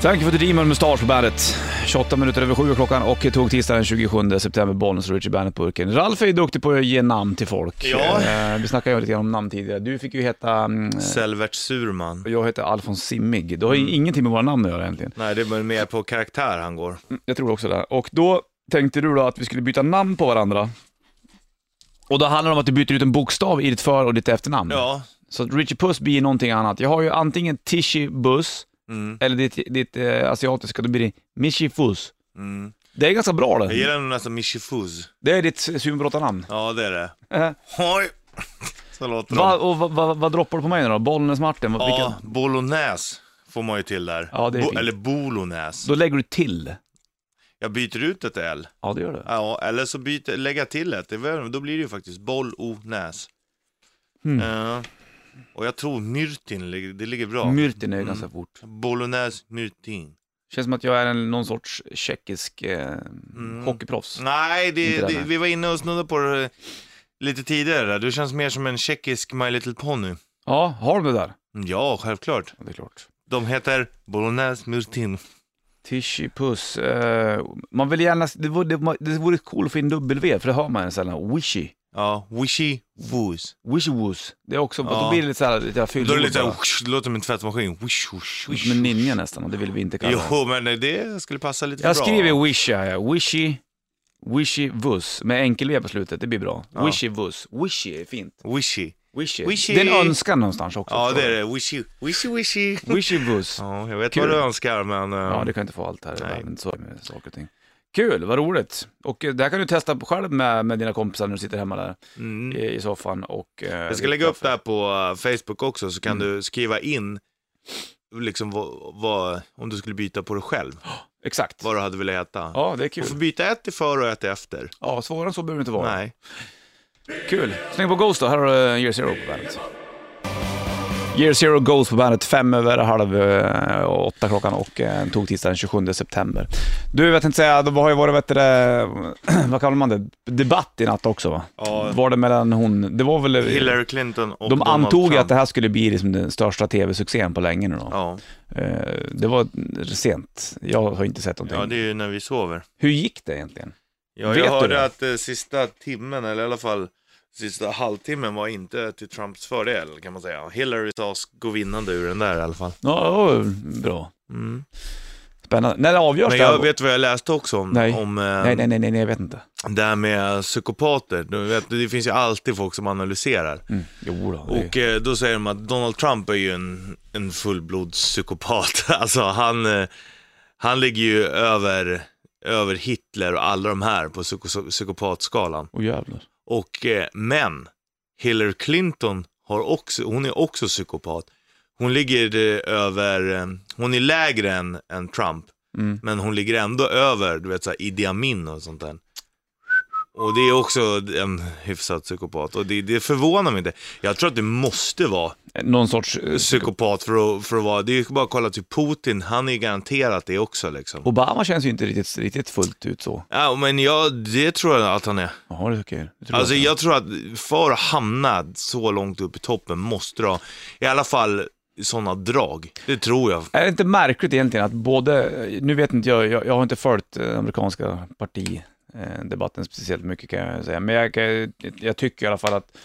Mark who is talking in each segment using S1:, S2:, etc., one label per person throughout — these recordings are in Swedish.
S1: Tack för att du med Mustasch på bandet. 28 minuter över sju är klockan och tog tisdagen 27 september Bollnäs och Richie Bandet-burken. Ralf är ju duktig på att ge namn till folk.
S2: Ja.
S1: Eh, vi snackade ju lite grann om namn tidigare. Du fick ju heta... mm,
S2: Selvert Surman.
S1: och jag heter Alfons Simmig. Det har ju
S2: Mm.
S1: ingenting med våra namn att göra egentligen.
S2: Nej, det är mer på karaktär han går.
S1: Jag tror också det. Och då tänkte du då att vi skulle byta namn på varandra. Och då handlar det om att du byter ut en bokstav i ditt för och ditt efternamn.
S2: Ja,
S1: Så att Richie Puss blir någonting annat. Jag har ju antingen Tishi Buss,
S2: mm,
S1: eller ditt, ditt eh, asiatiska, då blir det Michi Fuss.
S2: mm.
S1: Det är ganska bra
S2: Jag
S1: det.
S2: gillar nog nästan Michifuz.
S1: Det är ditt superbrottarnamn.
S2: Ja, det är det.
S1: Eh,
S2: Oj! Så låter
S1: va,
S2: det.
S1: och va, va, vad droppar du på mig nu då? Bollnäs-Martin? vad-
S2: Ja,
S1: vilken-
S2: bolognese får man ju till där.
S1: Ja, det är fint.
S2: Eller bolognese.
S1: Då lägger du till.
S2: Jag byter ut ett L.
S1: Ja, det gör du.
S2: Ja, eller så byter, lägga till ett. Det är väl- Då blir det ju faktiskt boll-o-näs.
S1: Mm.
S2: Ja. och jag tror myrtin, ligger- det ligger bra.
S1: Myrtin
S2: Mm.
S1: är ju ganska fort.
S2: Bolognese myrtin.
S1: Känns som att jag är en, någon sorts tjeckisk eh,
S2: Mm.
S1: hockeyproffs.
S2: Nej, det,
S1: Inte det,
S2: det,
S1: nej.
S2: vi var inne och snuddade på det lite tidigare. där. Du känns mer som en tjeckisk My Little Pony.
S1: Ja, har de det där?
S2: Ja, självklart.
S1: Ja, det är klart.
S2: De heter Bolognese Murtin.
S1: Tishy Puss. Eh, man vill gärna, det vore, det, ma- det vore cool att få in W, för det hör man sällan. Wishy.
S2: Ja, wishy woos.
S1: Wishy woos. Det är också,
S2: Ja.
S1: då blir det lite såhär, lite
S2: Då är
S1: fyllord
S2: det lite
S1: bara.
S2: såhär, det låter som en tvättmaskin. Wish, wish, wish.
S1: Som en ninja nästan, och det vill vi inte kalla det.
S2: Jo, men det skulle passa lite för
S1: Jag
S2: bra.
S1: skriver wishy, ja. Wishy, wishy vuss. Med enkel V på slutet, det blir bra. Wishy vuss. Wishy är fint.
S2: Wishy.
S1: Wishy.
S2: Wishy.
S1: Det är en önskan någonstans också.
S2: Ja,
S1: tror
S2: det
S1: jag.
S2: är det. Wishy, wishy, wishy.
S1: Wishy vuss.
S2: Ja, jag vet
S1: Kul.
S2: vad du önskar, men... eh,
S1: Ja, det kan jag inte få allt här i
S2: Nej.
S1: världen. Så är det med saker och ting. Kul, vad roligt. Och eh, det här kan du testa själv med, med dina kompisar när du sitter hemma där
S2: mm.
S1: i, i soffan och... eh,
S2: Jag ska
S1: dricker
S2: lägga upp
S1: kaffe.
S2: det här på eh, Facebook också, så kan
S1: Mm.
S2: du skriva in liksom vad, vad, om du skulle byta på dig själv,
S1: Exakt.
S2: vad du hade velat äta.
S1: Ja, det är
S2: du får
S1: kul.
S2: byta ett till före och ett till efter.
S1: Ja, svårare än så behöver det inte vara.
S2: Nej.
S1: Kul. Släng på Ghost då. Här har du eh, Year Zero på bandet. Year Zero Ghost på bandet. Fem över halv eh, åtta klockan och eh, tog tisdagen den 27 september. Du, jag tänkte säga, det har ju varit, vet du, det, vad kallar man det, debatt i natt också va?
S2: Ja.
S1: Var det mellan hon, det var väl... eh,
S2: Hillary Clinton och
S1: Mm. De
S2: Donald
S1: antog ju
S2: Trump.
S1: att det här skulle bli liksom den största tv-succén på länge nu då.
S2: Ja.
S1: Eh, Det var sent. Jag har inte sett någonting.
S2: ja, det är ju när vi sover.
S1: Hur gick det egentligen?
S2: Ja,
S1: Vet
S2: jag
S1: du
S2: hörde
S1: det?
S2: att eh, sista timmen, eller i alla fall sista halvtimmen var inte till Trumps fördel kan man säga. Hillary sades gå vinnande ur den där i alla fall.
S1: Ja, det var bra.
S2: Mm.
S1: Spännande. När det avgörs
S2: Men
S1: det här-
S2: jag vet vad jag läste också om,
S1: Nej.
S2: om eh,
S1: Nej, nej, nej, nej, nej, jag vet inte.
S2: Det här med psykopater, du vet, det finns ju alltid folk som analyserar.
S1: Mm. Jo då, det-
S2: Och eh, då säger de att Donald Trump är ju en, en fullblodspsykopat. Alltså han, eh, han ligger ju över, över Hitler och alla de här på psyko- psykopatskalan.
S1: Åh jävlar.
S2: Och, eh, men Hillary Clinton har också, hon är också psykopat. Hon ligger eh, över, eh, hon är lägre än, än Trump.
S1: Mm.
S2: Men hon ligger ändå över, du vet såhär Idi Amin och sånt där. Och det är också en hyfsad psykopat. Och det, det förvånar mig inte. Jag tror att det måste vara
S1: Någon sorts... eh,
S2: psykopat för att, för att vara, det är ju bara att kolla till Putin, han är ju garanterat det också liksom.
S1: Obama känns ju inte riktigt, riktigt fullt ut så.
S2: Ja, men jag, det tror jag att han är.
S1: Jaha, det tycker jag. Det tror
S2: Alltså
S1: jag.
S2: jag tror att för att hamna så långt upp i toppen måste du ha, i alla fall sådana drag. Det tror jag.
S1: Är det inte märkligt egentligen att både, eh, nu vet inte jag, jag, jag har inte följt eh, amerikanska partidebatten speciellt mycket kan jag säga, men jag, kan- jag tycker i alla fall att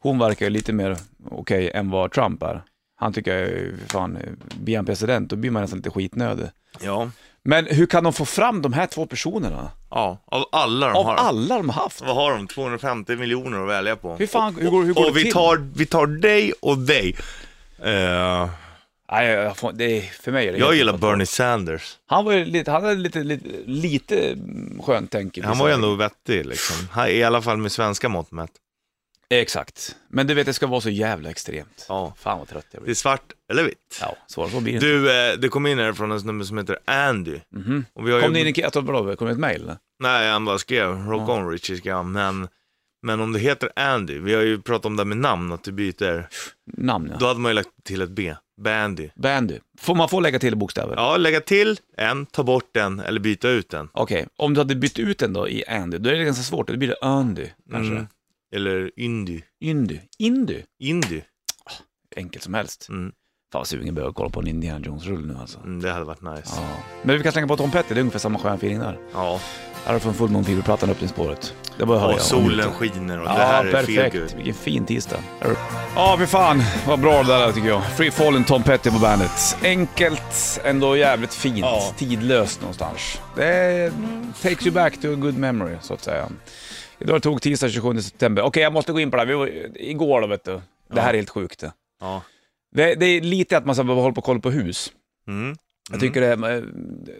S1: hon verkar ju lite mer okej än vad Trump är. Han tycker jag är, fan, eh, blir han president då blir man nästan lite skitnödig.
S2: Ja.
S1: Men hur kan de få fram de här två personerna?
S2: Ja, av alla de
S1: Av
S2: har.
S1: alla de har haft?
S2: Vad har de? 250 miljoner att välja på.
S1: Hur fan, hur går, hur går
S2: och
S1: det
S2: vi
S1: till?
S2: tar, vi tar dig och dig. Eh,
S1: Nej, jag får, det är, för mig är det
S2: jag
S1: helt
S2: gillar
S1: ofattbart.
S2: Bernie Sanders.
S1: Han var ju lite, han hade lite, lite, lite mm, skönt tänk. i
S2: Han
S1: vissa-
S2: var ju ändå vettig liksom. Han, I alla fall med svenska mått mätt.
S1: Exakt. Men du vet, det ska vara så jävla extremt.
S2: Ja.
S1: Fan vad trött jag
S2: Det är
S1: blir.
S2: svart eller vitt.
S1: Ja, svårare så blir det inte.
S2: Du, eh, det kom in här från en snubbe som heter Andy.
S1: Mhm.
S2: Och vi har
S1: Kom det
S2: ju...
S1: in i att vadå, kom det ett mejl?
S2: Nej, han bara skrev Rock on Richie skrev han. Men, men om det heter Andy, vi har ju pratat om det här med namn, att du byter.
S1: Namn ja.
S2: Då hade man ju lagt till ett B. Bandy.
S1: Bandy. Får man få lägga till bokstäver?
S2: Ja, lägga till en, ta bort den eller byta ut den.
S1: Okej, om du hade bytt ut den då i Andy, då är det ganska svårt. Då blir det Andy, kanske.
S2: Mm. Eller Indy.
S1: Indy. Indy?
S2: Indy.
S1: Enkelt som helst.
S2: Mm.
S1: Fan vad sugen jag börjar kolla på en Indiana Jones-rulle nu alltså.
S2: Mm, det hade varit nice.
S1: Ja. Men vi kan slänga på Tom Petty, det är ungefär samma skön feeling där.
S2: Ja.
S1: Här har du från Full Moon Fever-plattan upp till spåret. Det bara höra.
S2: Och solen skiner och
S1: Ja,
S2: det här är perfekt.
S1: perfekt. Vilken fin tisdag. Ja, för fan vad bra det där är, tycker jag. Free Fallen, Tom Petty på bandet. Enkelt, ändå jävligt fint.
S2: Ja.
S1: Tidlöst någonstans. Det är, takes you back to a good memory, så att säga. Idag tog tisdag 27 september. Okej, jag måste gå in på det här. Vi var, igår då, vet du. Det här är helt sjukt. det.
S2: Ja.
S1: Det, det är lite att man ska behöva hålla på och kolla på hus.
S2: Mm.
S1: Jag tycker det, är- eh,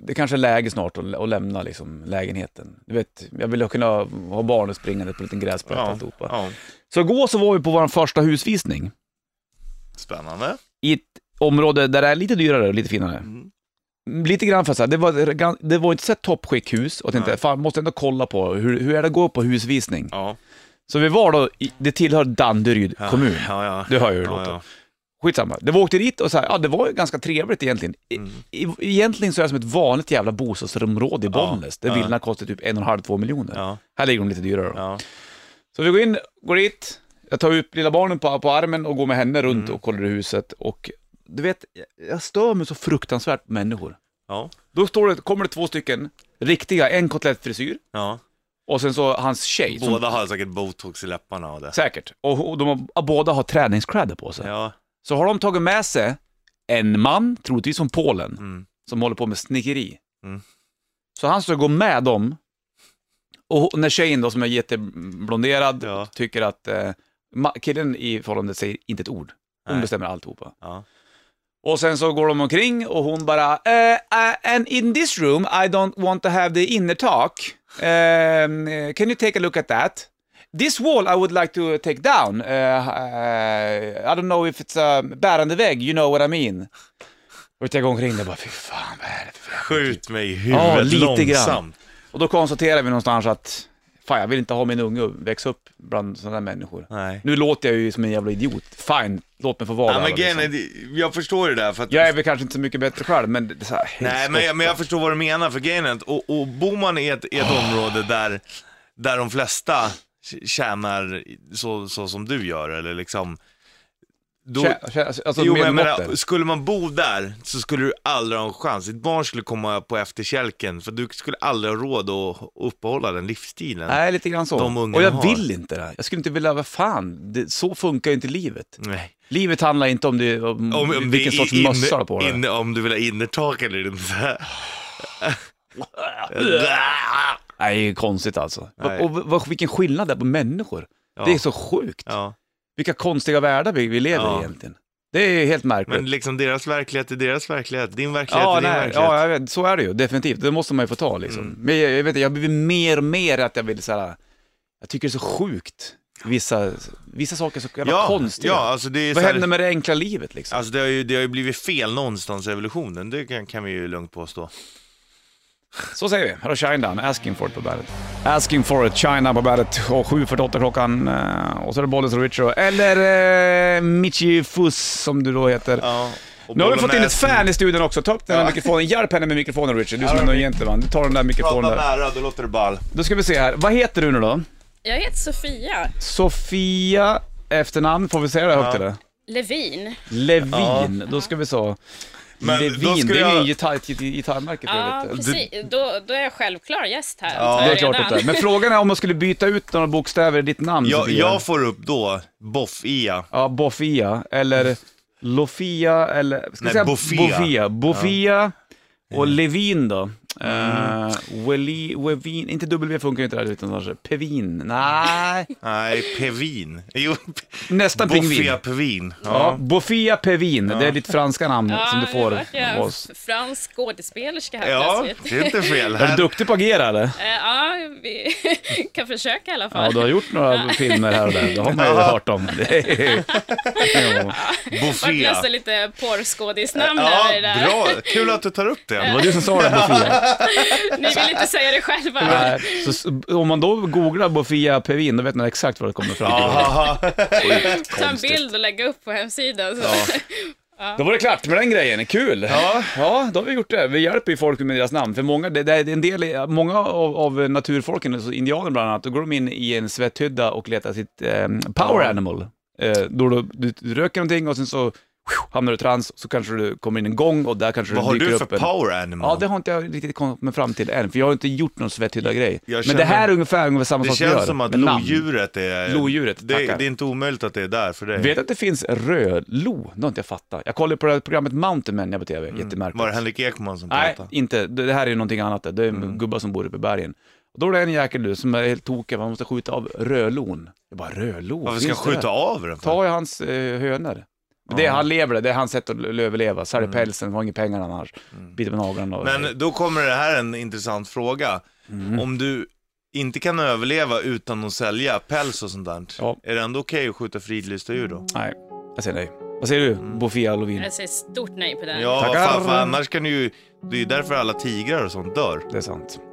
S1: det kanske är läge snart att, att lämna liksom, lägenheten. Du vet, jag vill kunna ha barnen springande på en liten gräsplätt och
S2: Ja.
S1: alltihopa.
S2: ja.
S1: Så igår så var vi på vår första husvisning
S2: Spännande.
S1: i ett område där det är lite dyrare och lite finare.
S2: Mm.
S1: Lite grann för att säga, det var, ett gan- det var inte så här toppskick hus och tänkte,
S2: Nej.
S1: fan måste ändå kolla på hur, hur är det att gå på husvisning.
S2: Ja.
S1: Så vi var då, i, det tillhör Danderyd
S2: ja.
S1: kommun.
S2: Ja, ja.
S1: Du hör ju hur det
S2: ja,
S1: låter.
S2: ja.
S1: Skitsamma. Det var åkte dit och så här, ja det var ju ganska trevligt egentligen. I,
S2: Mm.
S1: i, egentligen så är det som ett vanligt jävla bostadsområde i Bollnäs, där
S2: ja.
S1: villorna kostar typ en och en halv, två miljoner.
S2: Ja.
S1: Här ligger de lite dyrare då.
S2: Ja.
S1: Så vi går in, går dit, jag tar upp lilla barnen på, på armen och går med henne runt
S2: Mm.
S1: och kollar i huset. Och du vet, jag- jag stör mig så fruktansvärt på människor.
S2: Ja.
S1: Då står det, kommer det två stycken riktiga, en kotlettfrisyr
S2: ja.
S1: och sen så hans tjej. Som,
S2: Båda har säkert botox i läpparna och det.
S1: säkert. Och, och de har, båda har träningskläder på sig.
S2: Ja.
S1: Så har de tagit med sig en man, troligtvis från Polen,
S2: Mm.
S1: som håller på med snickeri.
S2: Mm.
S1: Så han ska gå med dem. Och när tjejen då, som är jätteblonderad,
S2: Ja.
S1: tycker att eh, ma- killen i förhållandet säger inte ett ord. Hon
S2: Nej.
S1: bestämmer alltihopa.
S2: Ja.
S1: Och sen så går de omkring och hon bara, eh, eh, and in this room I don't want to have the inner talk. Ehm, eh, can you take a look at that? This wall I would like to take down. Eh, eh, I don't know if it's a bärande vägg, you know what I mean. Och jag går omkring där och bara, fy fan vad är det för jävla
S2: Skjut mig i
S1: Ja,
S2: huvudet
S1: lite grann.
S2: långsamt.
S1: Och då konstaterar vi någonstans att fan, jag vill inte ha min unge att växa upp bland sådana där människor.
S2: Nej.
S1: Nu låter jag ju som en jävla idiot. Fine, låt mig få vara
S2: Ja, men
S1: där,
S2: grejen är,
S1: liksom.
S2: det- jag förstår det där för att...
S1: Jag är väl kanske inte så mycket bättre själv, men det är så här,
S2: Nej, men jag, men jag förstår vad du menar för grejen är att, och, och bor man i ett, i ett
S1: Ah.
S2: område där, där de flesta tj- tjänar så, så som du gör, eller liksom... Då,
S1: Tjä- tjä- Alltså
S2: jo, men jag
S1: medelmåttor.
S2: menar, skulle man bo där så skulle du aldrig ha en chans. Ditt barn skulle komma på efterkälken för du skulle aldrig ha råd att uppehålla den livsstilen.
S1: Nej, lite grann så.
S2: De ungarna
S1: Och jag
S2: har.
S1: vill inte det. Jag skulle inte vilja, vad fan, det, så funkar ju inte livet.
S2: Nej.
S1: Livet handlar inte om, det, om,
S2: Om, om
S1: vilken
S2: det är
S1: sorts
S2: inne-
S1: mössa du har på dig.
S2: inne- Om du vill ha innertak eller inte.
S1: Nej, det är konstigt alltså.
S2: Nej.
S1: Och, och, och vilken skillnad det är på människor.
S2: Ja.
S1: Det är så sjukt.
S2: ja.
S1: Vilka konstiga världar vi, vi lever
S2: Ja.
S1: i egentligen. Det är helt märkligt.
S2: Men liksom deras verklighet är deras verklighet, din verklighet
S1: Ja,
S2: är din
S1: nej,
S2: verklighet.
S1: ja jag vet, så är det ju. Definitivt. Det måste man ju få ta liksom.
S2: Mm.
S1: Men jag, jag vet inte, jag har blivit mer och mer att jag vill så här, jag tycker det är så sjukt. Vissa, vissa saker är så jävla
S2: ja,
S1: konstiga.
S2: Ja, alltså det är så
S1: Vad
S2: här,
S1: händer med det enkla livet liksom?
S2: Alltså det har, ju, det har ju blivit fel någonstans i evolutionen, det kan, kan vi ju lugnt påstå.
S1: Så säger vi. Här har Shine Down, Asking for it på bandet. Asking for it, China på bandet. Och 7.48 klockan. eh, Och så är det Bollens och Richo. Eller eh, Michi Fuss som du då heter.
S2: Ja, och
S1: Nu har vi fått in ett
S2: bolognese-
S1: fan i studion också. Ta upp den här mikrofonen. Hjälp henne med mikrofonen Richard, du som ändå är gentleman. Du tar den där mikrofonen
S2: Prata
S1: där.
S2: nära, då låter det ball.
S1: Då ska vi se här. Vad heter du nu då?
S3: Jag heter Sofia
S1: Sofia efternamn, får vi säga det högt eller?
S3: Levin.
S1: Levin, då ska vi så.
S2: Men då
S1: Levin,
S2: skulle
S1: det är ju
S2: jag-
S1: gitarr, gitarrmärke för
S3: Ja,
S1: övrigt.
S3: precis. Då, då är jag självklar gäst här.
S2: Ja.
S3: antar jag
S1: Det är klart att
S3: redan.
S1: det är. Men frågan är om man skulle byta ut några bokstäver i ditt namn
S2: Jag,
S1: Sofia.
S2: jag får upp då, E. boff-ia.
S1: Ja, Bofia eller Lofia eller... Ska vi
S2: Nej,
S1: säga
S2: Bofia.
S1: Bofia, Bofia och Levin då. Eh,
S2: Mm.
S1: Weli, Wevin, inte W funkar ju inte där utan kanske Pevin, nej.
S2: Nej, pevin. Jo, E
S1: Nästan pingvin.
S2: boffia pevin.
S1: Ja,
S2: Ja.
S1: Bofia Pevin, det är ditt franska namn
S3: Ja,
S1: som du
S3: nu
S1: får
S3: vart jag
S1: av oss.
S3: f- Fransk skådespelerska här
S2: Ja,
S3: plötsligt.
S2: det är inte fel.
S1: Är du
S2: Här,
S1: duktig på att agera eller?
S3: Eh, Ja, vi kan försöka i alla fall.
S1: Ja, du har gjort några filmer här och där, det har man ju hört om. Det är- Ja.
S3: Vart
S2: boffia.
S3: nästan lite porrskådisnamn
S2: E. Ja,
S3: över det där.
S2: bra. Kul att du tar upp
S1: Det
S2: det.
S1: var du som sa det, Bofia.
S3: Ni vill inte säga det själva.
S1: Nej, Så, s- om man då googlar Bofia Pevin, då vet man exakt vad det kommer fram till.
S2: Aha.
S3: Ta en bild och lägga upp på hemsidan. Så.
S1: Då var det klart med den grejen, kul! Ja, ja då har vi gjort det. Vi hjälper ju folk med deras namn, för många, det, det är en del, många av, av naturfolken, alltså indianer bland annat, då går de in i en svetthydda och letar sitt eh, power
S2: Ja.
S1: animal. Eh, då, då, du, du röker någonting och sen så hamnar du i trans, så kanske du kommer in en gång och där kanske
S2: Vad har
S1: du dyker
S2: du för
S1: upp en...
S2: power animal?
S1: Ja, det har inte jag riktigt kommit fram till än, för jag har inte gjort någon Svetthydda-grej.
S2: Jag
S1: Men det
S2: känner-
S1: här är ungefär, ungefär samma
S2: Det
S1: sak vi gör.
S2: känns som att
S1: med namn.
S2: lodjuret är...
S1: Lodjuret,
S2: det,
S1: tackar.
S2: det är inte omöjligt att det är där för dig.
S1: Vet att det finns rödlo? Det har inte jag fattat. Jag kollade på det här programmet Mountain Men jag på TV, jättemärkligt.
S2: Var Mm. det Henrik Ekman som
S1: Nej,
S2: pratade?
S1: inte. Det det här är ju någonting annat. Det är en
S2: Mm.
S1: gubbar som bor uppe i bergen. Och då är det en jäkel du som är helt tokig, man måste skjuta av rödlon. Jag bara, rödlon?
S2: Varför ska jag
S1: Finns det?
S2: skjuta av den? för?
S1: Ta ju hans eh, hönor. Men Det, är- han lever det, det är hans sätt att l- överleva. Säljer pälsen, har inga pengar annars. Biter med naglarna och...
S2: Mm. Men då kommer det här en intressant fråga.
S1: Mm.
S2: Om du inte kan överleva utan att sälja päls och sånt där,
S1: Ja.
S2: är det ändå okej att skjuta fridlysta djur då?
S1: Nej, jag säger nej. Vad säger du,
S2: Mm.
S1: Bofia Lovin?
S3: Jag säger stort nej på den.
S2: Ja,
S1: Tackar.
S2: fan, för annars kan du ju... Det är ju därför alla tigrar och sånt dör.
S1: Det är sant.